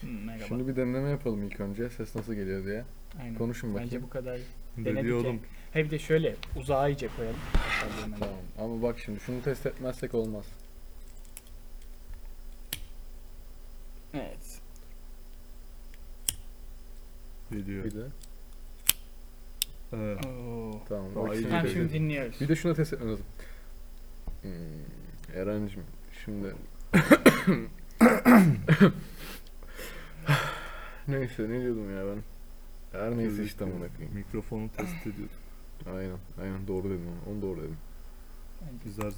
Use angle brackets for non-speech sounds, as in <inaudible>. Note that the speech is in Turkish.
Hı, merhaba. Şunu bir deneme yapalım ilk önce. Ses nasıl geliyor diye. Aynen. konuşun Bence bakayım. bu kadar. Denedik ya. Dönüyorum. He bir de şöyle uzağa iyice koyalım. Aşağıdan hemen. Tamam. Ama bak şimdi şunu test etmezsek olmaz. Evet. Geliyor. Bir de. Evet. Oo. Tamam. Daha bak iyi şimdi- Tamam şey. Teşekkür şimdi ederim. dinliyoruz. Bir de şunu test etmemiz lazım. Hmm, Eren'cim şimdi... <coughs> neyse ne diyordum ya ben. Her neyse işte amına koyayım. Mikrofonu test ediyorduk. Aynen aynen doğru dedim onu, onu doğru dedim. Bence- Biz her